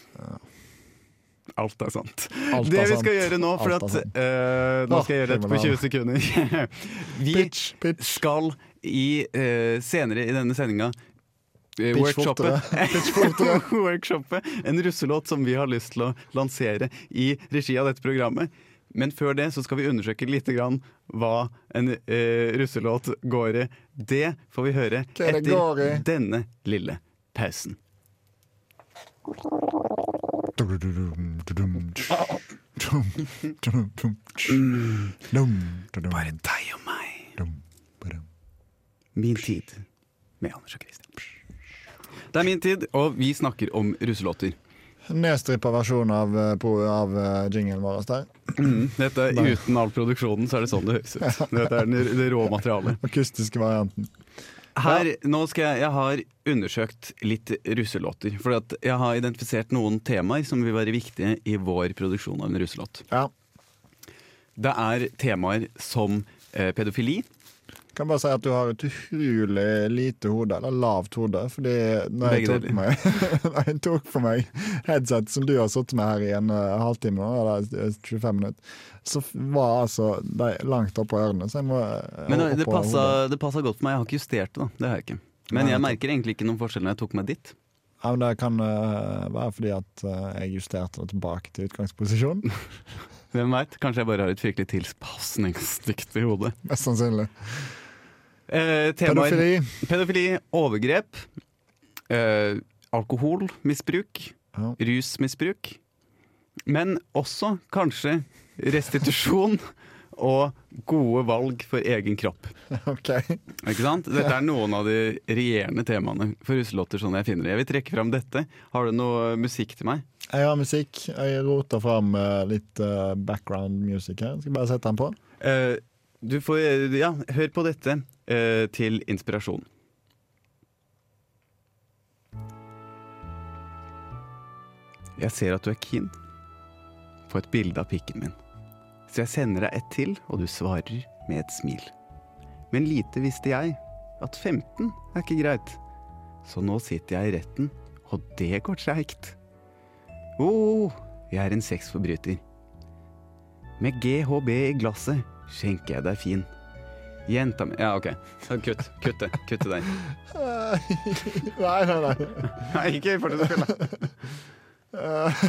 Speaker 2: Alt er sant.
Speaker 1: Alt er
Speaker 2: det vi
Speaker 1: sant.
Speaker 2: skal gjøre nå, for
Speaker 1: Alt er
Speaker 2: at
Speaker 1: sant.
Speaker 2: eh, Nå
Speaker 1: Åh,
Speaker 2: skal jeg gjøre dette på 20 sekunder. vi
Speaker 1: Pitch, pitch.
Speaker 2: skal i eh, senere i denne sendinga eh,
Speaker 1: Pitch
Speaker 2: workshoppe
Speaker 1: fortere. Pitch fortere.
Speaker 2: workshoppe en russelåt som vi har lyst til å lansere i regi av dette programmet. Men før det så skal vi undersøke litt grann hva en eh, russelåt går i. Det får vi høre
Speaker 1: Hva det går
Speaker 2: etter
Speaker 1: i?
Speaker 2: denne lille pausen. Bare deg og meg. Min tid med Anders og Christian. Det er min tid, og vi snakker om russelåter.
Speaker 1: Nedstrippa versjon av, eh, på- av eh, jinglen vår der.
Speaker 2: Mm. Dette er Uten all produksjonen så er det sånn det høres ut. Dette er den- det rå materialet.
Speaker 1: Akustiske varianten.
Speaker 2: Her, nå skal jeg, jeg har undersøkt litt russelåter. For at jeg har identifisert noen temaer som vil være viktige i vår produksjon av en russelåt.
Speaker 1: Ja.
Speaker 2: Det er temaer som eh, pedofili.
Speaker 1: Kan bare si at du har et utrolig lite hode, eller lavt hode, fordi når jeg
Speaker 2: Begge
Speaker 1: tok,
Speaker 2: deler.
Speaker 1: meg, når jeg tok for meg headset som du har sittet med her i en eh, halvtime nå, eller eh, 25 minutter, så f- var altså de langt oppå ørene, så jeg må eh,
Speaker 2: Men
Speaker 1: oppå
Speaker 2: det
Speaker 1: hodet.
Speaker 2: passa, det passa godt på meg. Jeg har ikke justert det, da. Det har jeg ikke. Men jeg merker egentlig ikke noen forskjell når jeg tok meg ditt.
Speaker 1: Ja, men det kan eh, være fordi at eh, jeg justerte det tilbake til utgangsposisjon,
Speaker 2: Hvem veit? Kanskje jeg bare har et fryktelig tilpasningsdyktig hode.
Speaker 1: mest sannsynlig.
Speaker 2: Eh, temaer
Speaker 1: Pedofili.
Speaker 2: pedofili, overgrep, eh, alkoholmisbruk,
Speaker 1: Ja.
Speaker 2: rusmisbruk. Men også kanskje restitusjon og gode valg for egen kropp.
Speaker 1: Ok.
Speaker 2: Ikke sant? Dette er noen av de regjerende temaene for russelåter. Sånn jeg finner det. Jeg vil trekke fram dette. Har du noe musikk til meg?
Speaker 1: Jeg har musikk. Jeg roter fram eh, litt eh, background music her. Skal bare sette den på.
Speaker 2: Eh, du får eh, Ja, hør på dette eh, til inspirasjon. Jeg ser at du er keen på et bilde av pikken min. Så jeg sender deg et til, og du svarer med et smil. Men lite visste jeg at 15 er ikke greit. Så nå sitter jeg i retten, og det går treigt. Å, jeg er en sexforbryter. Med GHB i glasset skjenker jeg deg fin. Jenta mi Ja, OK. Så Kutt. Kutt det. Kutt det der.
Speaker 1: nei, nei, nei.
Speaker 2: Nei, ikke fortsett å spille.
Speaker 1: Eh,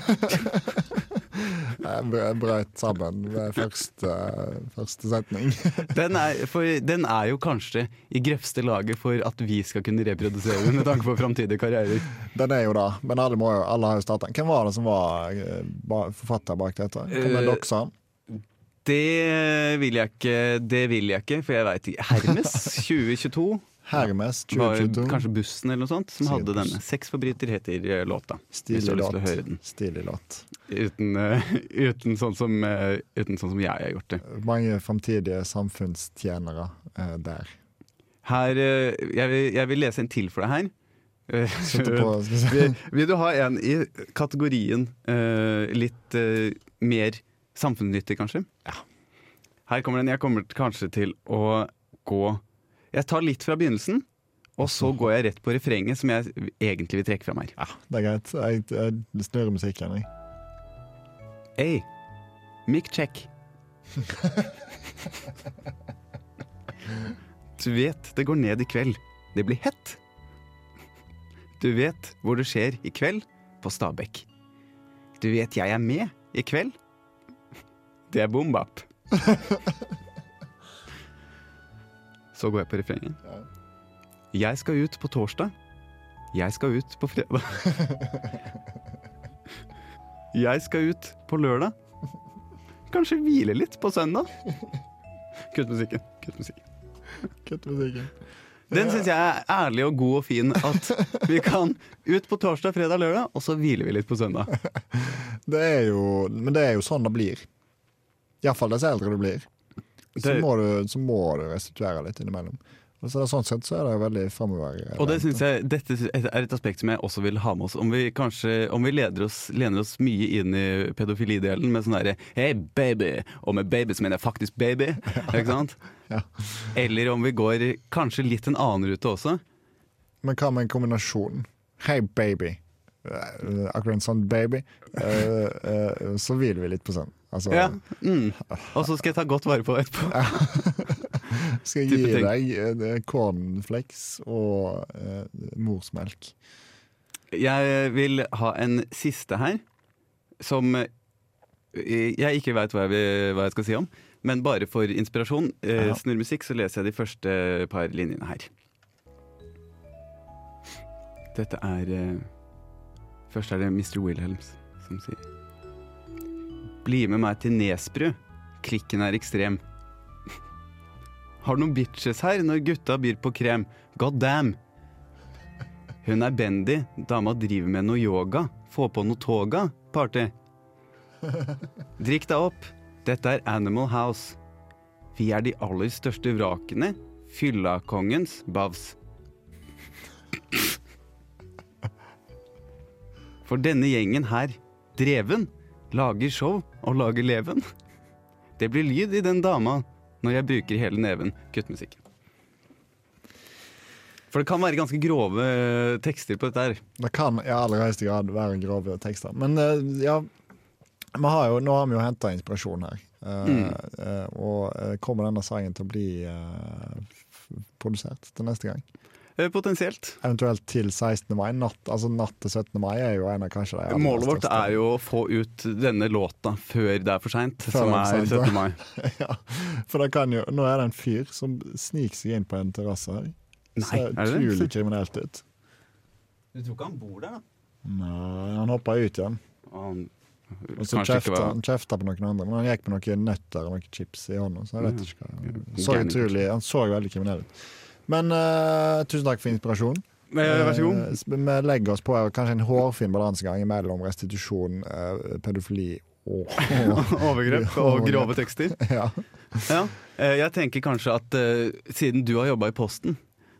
Speaker 1: Jeg brø- brøt sammen ved første, første setning.
Speaker 2: Den er, for den er jo kanskje i grøvste laget for at vi skal kunne reprodusere den med tanke på framtidige karrierer.
Speaker 1: Den er jo da, men alle, må jo, alle har jo starta. Hvem var det som var eh, ba- forfatter bak dette? Hvem
Speaker 2: Eh,
Speaker 1: er dere sa?
Speaker 2: Det vil jeg ikke, det vil jeg ikke for jeg veit ikke. Hermes 2022
Speaker 1: Hermes
Speaker 2: var
Speaker 1: 2022.
Speaker 2: kanskje Bussen eller noe sånt som
Speaker 1: Sikkert
Speaker 2: hadde
Speaker 1: Bussen.
Speaker 2: denne. Seks forbryter heter eh, låta. Hvis du
Speaker 1: Stilig
Speaker 2: har lyst til å høre
Speaker 1: låt.
Speaker 2: den.
Speaker 1: Stilig låt.
Speaker 2: Uten, eh, uten, sånn som, eh, uten sånn som jeg har gjort det.
Speaker 1: Mange framtidige samfunnstjenere eh, der.
Speaker 2: Her, eh, jeg, vil, jeg vil lese en til for deg her. Eh,
Speaker 1: Sitter på skal vi si.
Speaker 2: vil, vil du ha en i kategorien eh, litt eh, mer samfunnsnyttig, kanskje? Ja. Her kommer den. Jeg kommer kanskje til å gå Jeg tar litt fra begynnelsen, og så går jeg rett på refrenget, som jeg egentlig vil trekke fram her.
Speaker 1: Det er greit. Jeg, jeg snurrer musikken. Jeg.
Speaker 2: Hey, mic check. du vet det går ned i kveld. Det blir hett. Du vet hvor det skjer i kveld, på Stabekk. Du vet jeg er med i kveld. Det er bombap. Så går jeg på refrenget.
Speaker 1: Ja.
Speaker 2: Jeg skal ut på torsdag. Jeg skal ut på fredag. Jeg skal ut på lørdag. Kanskje hvile litt på søndag. Kutt musikken. Kutt musikken.
Speaker 1: Kutt musikken.
Speaker 2: Den syns jeg er ærlig og god og fin. At vi kan ut på torsdag, fredag, lørdag, og så hviler vi litt på søndag.
Speaker 1: Det er jo, men det er jo sånn det blir. Iallfall dess eldre du blir. Så
Speaker 2: Det-
Speaker 1: må du, så må du restituere litt innimellom. Og så det er sånn sett så er det jo veldig framover.
Speaker 2: Og det synes jeg, dette er et aspekt som jeg også vil ha med oss. Om vi kanskje, om vi leder oss, lener oss mye inn i pedofilidelen med sånn derre Hei, baby! Og med baby så mener jeg faktisk baby. Ikke sant?
Speaker 1: Ja.
Speaker 2: Eller om vi går kanskje litt en annen rute også.
Speaker 1: Men hva med en kombinasjon? Hei, baby. Eh, Akkurat en sånn baby. Eh, eh, så hviler vi litt på sånn. Altså,
Speaker 2: Ja. Mm. Og så skal jeg ta godt vare på det etterpå.
Speaker 1: Skal jeg
Speaker 2: Type
Speaker 1: gi
Speaker 2: ting.
Speaker 1: deg eh, cornflakes og eh, morsmelk.
Speaker 2: Jeg vil ha en siste her, som eh, jeg ikke veit hva, jeg vil- hva jeg skal si om. Men bare for inspirasjon, eh,
Speaker 1: Ja.
Speaker 2: snurr musikk, så leser jeg de første par linjene her. Dette er eh, Først er det Mr. Wilhelms som sier Bli med meg til Nesbru. Klikken er ekstrem. Har noen bitches her når gutta byr på krem. God damn! Hun er bendy, dama driver med noe yoga. Få på noe toga, party. Drikk deg opp. Dette er Animal House. Vi er de aller største vrakene. Fyllakongens bavs. For denne gjengen her, dreven, lager show og lager leven. Det blir lyd i den dama når jeg bruker hele neven. Kutt musikken. For det kan være ganske grove eh, tekster på dette her.
Speaker 1: Det kan i aller høyeste grad være grove tekster. Men eh, ja, vi har jo, nå har vi jo henta inspirasjon her. Eh,
Speaker 2: Mm.
Speaker 1: eh, og eh, kommer denne sangen til å bli eh, f- produsert til neste gang?
Speaker 2: Eh, Potensielt.
Speaker 1: Eventuelt til 16. mai. Natt, altså natt til 17. mai er jo en av kanskje de aller
Speaker 2: Målet vårt
Speaker 1: største.
Speaker 2: er jo å få ut denne låta før det er for seint, som
Speaker 1: det er
Speaker 2: er
Speaker 1: for sent,
Speaker 2: 17. mai.
Speaker 1: ja, for det kan jo, Nå er det en fyr som sniker seg inn på en terrasse her. Ser
Speaker 2: er det det?
Speaker 1: utrolig kriminelt ut.
Speaker 2: Du tror ikke han bor der, da?
Speaker 1: Nei, han hoppa ut igjen.
Speaker 2: Han,
Speaker 1: Og så
Speaker 2: Kanskje ikke
Speaker 1: kjefta
Speaker 2: var-
Speaker 1: han kjefta på noen andre, men han gikk med noen nøtter og noen chips i hånda. Så jeg
Speaker 2: Mm.
Speaker 1: vet ikke hva han så,
Speaker 2: Gærning,
Speaker 1: utrolig, han så veldig kriminell ut. Men eh, tusen takk for inspirasjon.
Speaker 2: Eh, Vær så god.
Speaker 1: Eh, s- vi legger oss på her, kanskje en hårfin balansegang mellom restitusjon, eh, pedofili og Eh,
Speaker 2: Overgrep og grove tekster.
Speaker 1: ja.
Speaker 2: Ja. Eh, Jeg tenker kanskje at eh, siden du har jobba i Posten,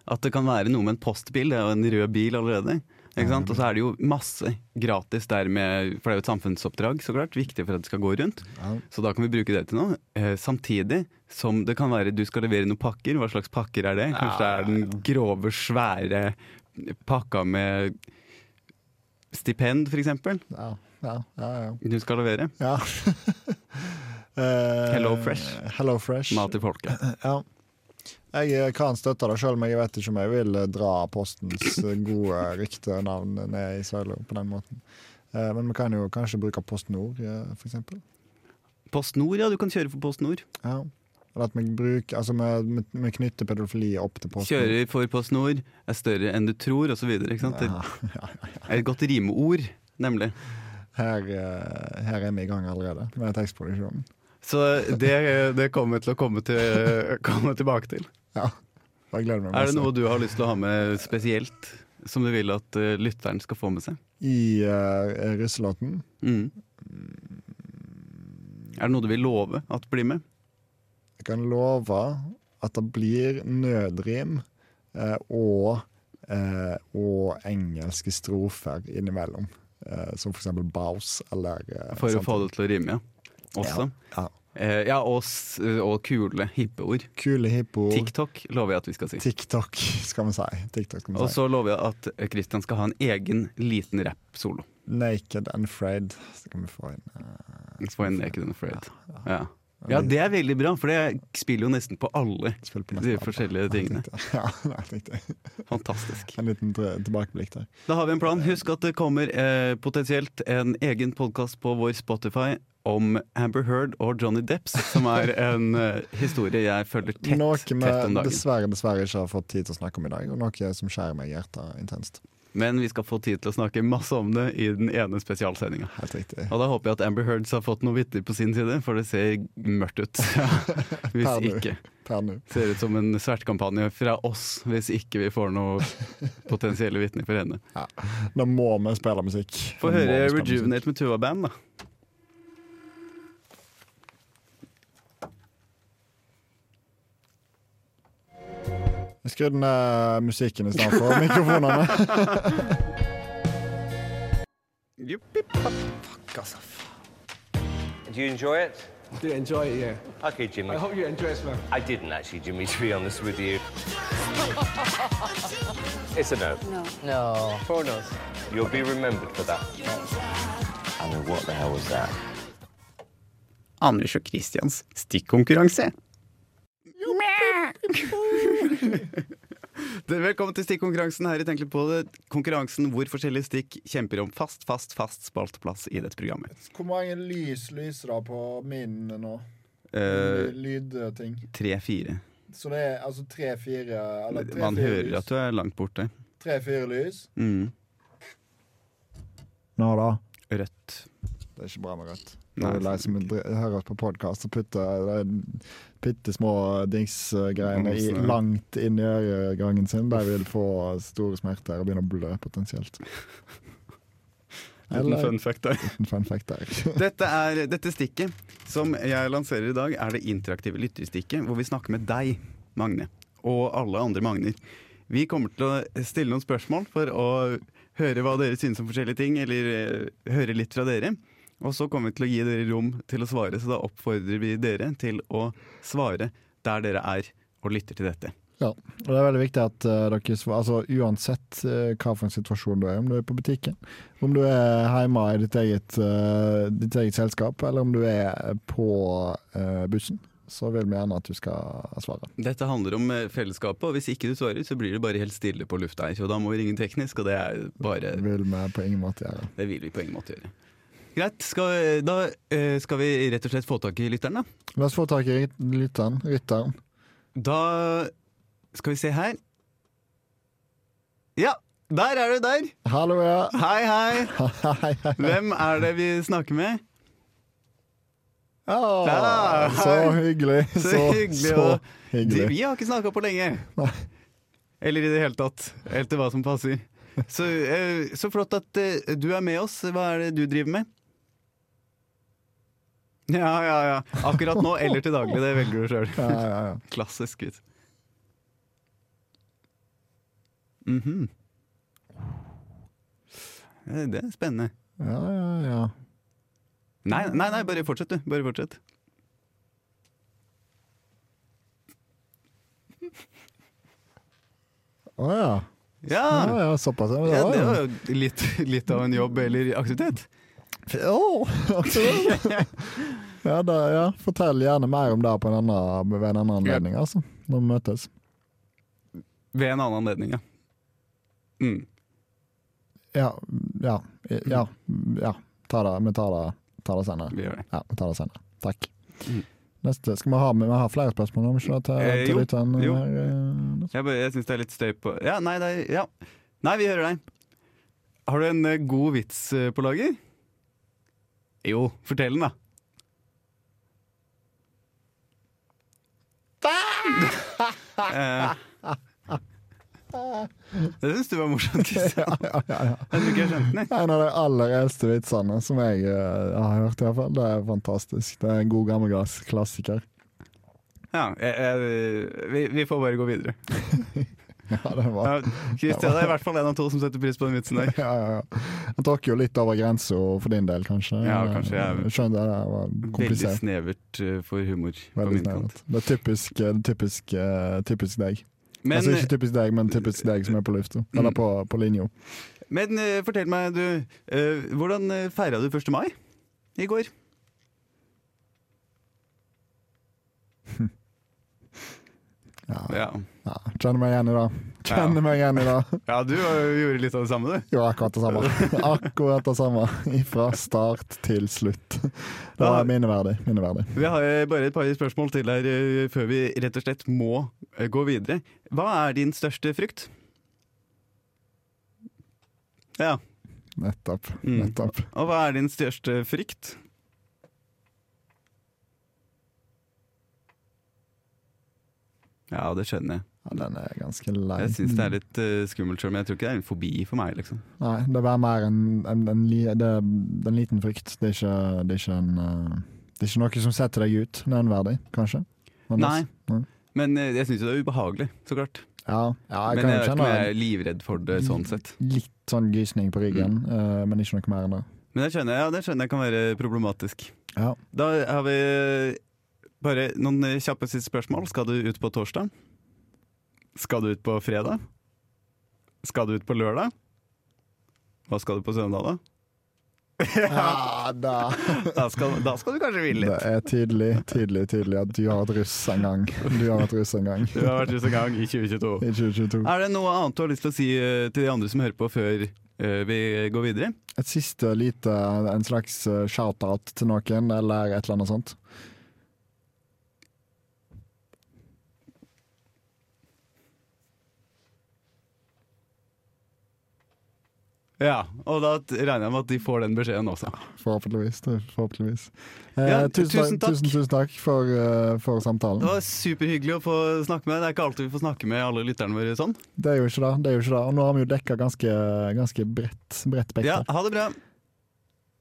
Speaker 2: at det kan være noe med en postbil. Det er jo en rød bil allerede. Ikke sant? Og så er det jo masse gratis der med For det er jo et samfunnsoppdrag, så klart. Viktig for at det skal gå rundt.
Speaker 1: Ja.
Speaker 2: Så da kan vi bruke det til noe. Eh, samtidig som det kan være du skal levere noen pakker. Hva slags pakker er det? Kanskje det er den grove, svære pakka med stipend, for eksempel
Speaker 1: Ja, ja, ja, ja.
Speaker 2: Du skal levere.
Speaker 1: ja. Eh,
Speaker 2: Hello Fresh.
Speaker 1: Hello Fresh.
Speaker 2: Mat til folket.
Speaker 1: Ja. Jeg eh, kan støtte det, selv om jeg vet ikke om jeg vil eh, dra Postens eh, gode ryktenavn ned i søla på den måten. Eh, Men vi kan jo kanskje bruke Post Nord, eh, for eksempel.
Speaker 2: Post Nord, ja. Du kan kjøre for Post Nord.
Speaker 1: Ja. Eller at vi, bruker, altså vi, vi, vi knytter pedofili opp til Post Nord.
Speaker 2: Kjører for Post Nord er større enn du tror, osv. Det
Speaker 1: Ja,
Speaker 2: er et godt rimeord, nemlig.
Speaker 1: her, eh, her er vi i gang allerede med tekstproduksjonen.
Speaker 2: Så det, det kommer vi til å komme, til, komme tilbake til.
Speaker 1: Ja. Jeg gleder meg
Speaker 2: Er det
Speaker 1: masse.
Speaker 2: noe du har lyst til å ha med spesielt, som du vil at eh, lytteren skal få med seg?
Speaker 1: I uh, russelåten
Speaker 2: Mm. Er det noe du vil love at blir med?
Speaker 1: Jeg kan love at det blir nødrim eh, og, eh, og engelske strofer innimellom. Eh, som for eksempel Bows eller eh,
Speaker 2: For å
Speaker 1: sånt.
Speaker 2: få det til å rime, ja. Også.
Speaker 1: Ja.
Speaker 2: Eh, ja, og, s- og kule, hippe ord.
Speaker 1: Kule hippo.
Speaker 2: TikTok lover jeg at vi skal si.
Speaker 1: TikTok, skal vi si. TikTok skal vi
Speaker 2: Og
Speaker 1: si.
Speaker 2: så lover jeg at Christian skal ha en egen liten rapp-solo.
Speaker 1: Naked and Afraid skal vi få inn. eh,
Speaker 2: Få en Naked and Afraid. Ja. ja, det er veldig bra, for det spiller jo nesten på alle
Speaker 1: Spill på
Speaker 2: de
Speaker 1: neste album.
Speaker 2: forskjellige tingene.
Speaker 1: Ja, jeg tenkte jeg.
Speaker 2: Fantastisk.
Speaker 1: En liten tre- tilbakeblikk der.
Speaker 2: Da har vi en plan. Husk at det kommer eh, potensielt en egen podkast på vår Spotify om Amber Heard og Johnny Depps, som er en eh, historie jeg følger tett,
Speaker 1: Noe vi
Speaker 2: tett om dagen.
Speaker 1: dessverre, dessverre ikke har fått tid til å snakke om i dag, og noe som skjærer meg i hjertet intenst.
Speaker 2: Men vi skal få tid til å snakke masse om det i den ene spesialsendinga.
Speaker 1: Helt riktig.
Speaker 2: Og da håper jeg at Amber Heards har fått noen vitner på sin side, for det ser mørkt ut.
Speaker 1: Per
Speaker 2: Hvis
Speaker 1: nå.
Speaker 2: ikke.
Speaker 1: Per nå.
Speaker 2: Ser ut som en svertekampanje fra oss, hvis ikke vi får noen potensielle vitner for henne.
Speaker 1: Da må vi spille musikk.
Speaker 2: Få
Speaker 1: Da må
Speaker 2: høre
Speaker 1: vi spille musikk.
Speaker 2: Rejuvenate med Tuva Band, da.
Speaker 1: Skru den eh, musikken i stedet for mikrofonene.
Speaker 4: Do you enjoy it?
Speaker 5: Do enjoy it, yeah.
Speaker 4: Okay, Jimmy.
Speaker 5: I hope you enjoy it, man.
Speaker 4: I didn't actually, Jimmy, to be honest with you. it's a no.
Speaker 6: No. Pornos.
Speaker 4: You'll be remembered for that. I mean, what the hell was that?
Speaker 2: Anders og Kristians stikkonkurranse. Velkommen til stikkonkurransen her i Tenk litt på det. Konkurransen hvor forskjellige stikk kjemper om fast, fast, fast spaltplass i dette programmet.
Speaker 1: Hvor mange lys lyser det på min nå?
Speaker 2: Eh,
Speaker 1: Lydting.
Speaker 2: Tre-fire.
Speaker 1: Så det er altså tre-fire
Speaker 2: Man hører at du er langt borte.
Speaker 1: Tre-fire lys.
Speaker 2: Mm.
Speaker 1: Nå da.
Speaker 2: Rødt.
Speaker 1: Det er ikke bra med rødt.
Speaker 2: Nei,
Speaker 1: Når du leser, hører oss på podkast og putter bitte små dingsgreiene i-
Speaker 2: Mosene.
Speaker 1: langt inn i øregangen sin, de vil få store smerter og begynne å blø potensielt.
Speaker 2: Liten
Speaker 1: Eller
Speaker 2: fun fact der.
Speaker 1: en fun fact der.
Speaker 2: Dette, er, dette stikket som jeg lanserer i dag, er det interaktive lytterstikket, hvor vi snakker med deg, Magne, og alle andre Magner. Vi kommer til å stille noen spørsmål for å høre hva dere synes om forskjellige ting, eller eh, høre litt fra dere. Og så kommer vi til å gi dere rom til å svare, så da oppfordrer vi dere til å svare der dere er og lytter til dette.
Speaker 1: Ja, og Det er veldig viktig at eh, dere svar- altså, uansett eh, hva for en situasjon du er, om du er på butikken, om du er hjemme i ditt eget, eh, ditt eget selskap, eller om du er på eh, bussen, så vil vi gjerne at du skal svare.
Speaker 2: Dette handler om eh, fellesskapet, og hvis ikke du svarer, så blir det bare helt stille på lufta her. Og da må vi ringe teknisk, og det er bare
Speaker 1: Det vil vi på ingen måte gjøre.
Speaker 2: Det vil vi på ingen måte gjøre. Greit, skal, da eh, skal vi rett og slett få tak i lytteren, da.
Speaker 1: La oss få tak i ryt- lytteren. Rytteren.
Speaker 2: Da skal vi se her. Ja, der er du der!
Speaker 1: Hallo, ja.
Speaker 2: Hei, hei!
Speaker 1: Hei, hei.
Speaker 2: Hvem er det vi snakker med?
Speaker 1: Å,
Speaker 2: Ja,
Speaker 1: så
Speaker 2: hei.
Speaker 1: hyggelig.
Speaker 2: Så hyggelig
Speaker 1: Så
Speaker 2: å- Du,
Speaker 1: hyggelig.
Speaker 2: vi har ikke snakka på lenge.
Speaker 1: Nei.
Speaker 2: Eller i det hele tatt. Helt til hva som passer. Så, eh, så flott at eh, du er med oss. Hva er det du driver med? Ja, ja, ja. Akkurat nå eller til daglig. Det velger du sjøl.
Speaker 1: Ja, ja, ja.
Speaker 2: Klassisk vits. Mhm. Eh, Det er spennende.
Speaker 1: ja, ja, ja.
Speaker 2: Nei, nei, nei, bare fortsett, du. Bare fortsett.
Speaker 1: Å ja. Å,
Speaker 2: Ja!
Speaker 1: ja, såpass. Ja,
Speaker 2: ja det
Speaker 1: ja.
Speaker 2: var jo litt, litt av en jobb eller aktivitet.
Speaker 1: Åh, akkurat. ja, da, ja, fortell gjerne mer om det på en annen, ved en annen anledning, altså. Når vi møtes.
Speaker 2: Ved en annen anledning, ja. Mm.
Speaker 1: Ja, ja, Ja, ja ta det, vi tar det, tar det senere.
Speaker 2: Vi gjør det.
Speaker 1: Ja, vi tar det senere. Takk.
Speaker 2: Mm.
Speaker 1: Neste. Skal vi ha, vi har flere spørsmål nå, ikke sant?
Speaker 2: Eh,
Speaker 1: Til,
Speaker 2: jo,
Speaker 1: til lytteren
Speaker 2: jo.
Speaker 1: her, eh,
Speaker 2: Jeg, bare- jeg syns det er litt støy på Ja, nei, det er, ja. nei vi hører deg. Har du en eh, god vits eh, på lager? Jo, fortell den, da. Eh, det syns du var morsomt, Kristian. Jeg tror ikke jeg skjønte den. jeg.
Speaker 1: En av de aller eldste vitsene som jeg eh, har hørt, i hvert fall. Det er fantastisk. Det er en god gammeldags klassiker.
Speaker 2: Ja, jeg, jeg, vi, vi får bare gå videre.
Speaker 1: Ja, det var
Speaker 2: Ja, Kristian er i hvert fall en av to som setter pris på den vitsen der.
Speaker 1: ja, ja, ja. Han tråkker jo litt over grensa for din del, kanskje.
Speaker 2: Ja, kanskje jeg-
Speaker 1: Skjønner det var
Speaker 2: Veldig
Speaker 1: komplisert.
Speaker 2: snevert eh, for humor på
Speaker 1: Veldig
Speaker 2: min kant.
Speaker 1: snevert. Det er typisk, eh, typisk, eh, typisk deg.
Speaker 2: Men, Mm.
Speaker 1: altså ikke typisk deg, men typisk deg som er på lufta. Eller på, på linja.
Speaker 2: men eh, fortell meg, du. eh, hvordan eh, feira du 1. mai i går?
Speaker 1: Ja.
Speaker 2: Ja,
Speaker 1: Ja, kjenner meg igjen i det. Kjenner meg igjen i det.
Speaker 2: ja du eh, gjorde litt av det samme, du.
Speaker 1: Jo, akkurat det samme. Akkurat det samme. Fra start til slutt. Det var minneverdig. minneverdig.
Speaker 2: Vi har eh, bare et par spørsmål til her eh, før vi rett og slett må eh, gå videre. Hva er din største frykt? Ja,
Speaker 1: Nettopp.
Speaker 2: Mm.
Speaker 1: Nettopp.
Speaker 2: og hva er din største frykt? Ja, det skjønner jeg.
Speaker 1: Ja, den er ganske lei.
Speaker 2: Jeg syns det er litt eh, skummelt sjøl, men jeg tror ikke det er en fobi for meg, liksom.
Speaker 1: Nei, det er mer en, en, en, li- det er en liten frykt. Det er ikke, det er ikke en eh, Det er ikke noe som setter deg ut nevnverdig, kanskje.
Speaker 2: Nei.
Speaker 1: Anders? Nei.
Speaker 2: Men eh, jeg syns jo det er ubehagelig, så klart.
Speaker 1: Ja, ja jeg kan Mm. jo
Speaker 2: men jeg vet ikke
Speaker 1: kjenne
Speaker 2: om jeg er livredd for det sånn sett. Mm.
Speaker 1: litt sånn gysning på ryggen, eh, men ikke noe mer enn det.
Speaker 2: Men det skjønner jeg, ja, det skjønner jeg kan være problematisk.
Speaker 1: Ja.
Speaker 2: Da har vi eh, bare noen eh, kjappe siste spørsmål. Skal du ut på torsdag? Skal du ut på fredag? Skal du ut på lørdag? Hva skal du på søndag, da?
Speaker 1: Ja, da.
Speaker 2: Da skal, da skal du kanskje hvile
Speaker 1: Det
Speaker 2: litt.
Speaker 1: er tydelig, tydelig, tydelig at du har vært russ en gang. Du har vært russ en gang
Speaker 2: Du har vært ute en gang i 2022.
Speaker 1: i 2022.
Speaker 2: Er det noe annet du har lyst til å si eh, til de andre som hører på, før eh, vi går videre?
Speaker 1: Et siste lite, en slags eh, shout-out til noen, eller et eller annet sånt.
Speaker 2: Ja, og da t- regner jeg med at de får den beskjeden også.
Speaker 1: Forhåpentligvis. det- forhåpentligvis. Eh,
Speaker 2: Ja, tusen
Speaker 1: tusen,
Speaker 2: takk.
Speaker 1: takk. Tusen, tusen takk for, eh, for
Speaker 2: Det
Speaker 1: samtalen.
Speaker 2: var superhyggelig å få snakke med deg. Det er ikke alltid vi får snakke med alle lytterne våre sånn.
Speaker 1: Det er jo ikke det. det, er jo ikke det. Og nå har vi jo dekka ganske, ganske bredt, bredt
Speaker 2: Ja,
Speaker 1: spekter.
Speaker 2: ha det bra.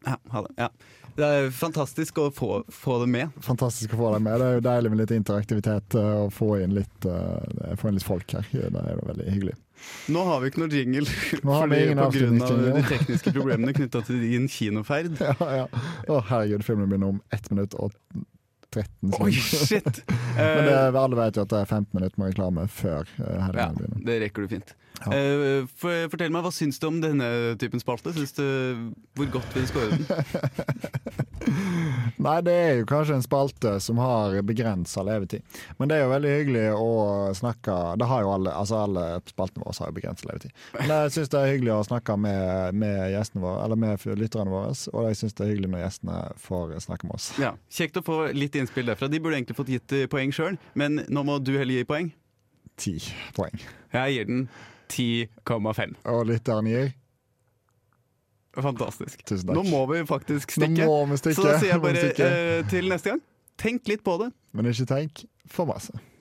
Speaker 2: Ja, ha det. Ja. Det er fantastisk å få, få det med.
Speaker 1: Fantastisk å få deg med. Det er jo deilig med litt interaktivitet eh, og få inn litt, eh, få inn litt folk her. Det er jo veldig hyggelig.
Speaker 2: Nå har vi ikke noe jingle
Speaker 1: Nå har vi
Speaker 2: fordi
Speaker 1: ingen
Speaker 2: på grunn av
Speaker 1: avslutningsjingle.
Speaker 2: de tekniske problemene knytta til din kinoferd.
Speaker 1: Ja, ja. Å, herregud, filmen begynner om 1 minutt og 13
Speaker 2: Oi,
Speaker 1: sekunder.
Speaker 2: shit!
Speaker 1: Men det,
Speaker 2: Eh,
Speaker 1: alle vet jo at det er 15 minutter med reklame før eh,
Speaker 2: ja,
Speaker 1: herregud begynner.
Speaker 2: det rekker du fint.
Speaker 1: Ja.
Speaker 2: Eh, for, fortell meg, Hva syns du om denne typen spalte? Syns du, hvor godt vil du score den?
Speaker 1: Nei, det er jo kanskje en spalte som har begrensa levetid. Men det er jo veldig hyggelig å snakke Det har jo alle, altså alle spaltene våre har jo begrensa levetid. Men jeg syns det er hyggelig å snakke med, med gjestene våre, eller med lytterne våre, og jeg syns det er hyggelig når gjestene får snakke med oss.
Speaker 2: Ja, Kjekt å få litt innspill derfra. De burde egentlig fått gitt eh, poeng sjøl, men nå må du heller gi poeng.
Speaker 1: Ti poeng.
Speaker 2: Jeg gir den 10,5.
Speaker 1: Og lytteren gir
Speaker 2: Fantastisk.
Speaker 1: Tusen takk.
Speaker 2: Nå må vi faktisk
Speaker 1: Nå
Speaker 2: stikke.
Speaker 1: må vi stikke.
Speaker 2: Så da sier jeg
Speaker 1: Nå må vi
Speaker 2: bare
Speaker 1: stikke.
Speaker 2: eh, til neste gang, tenk litt på det.
Speaker 1: Men ikke tenk for masse.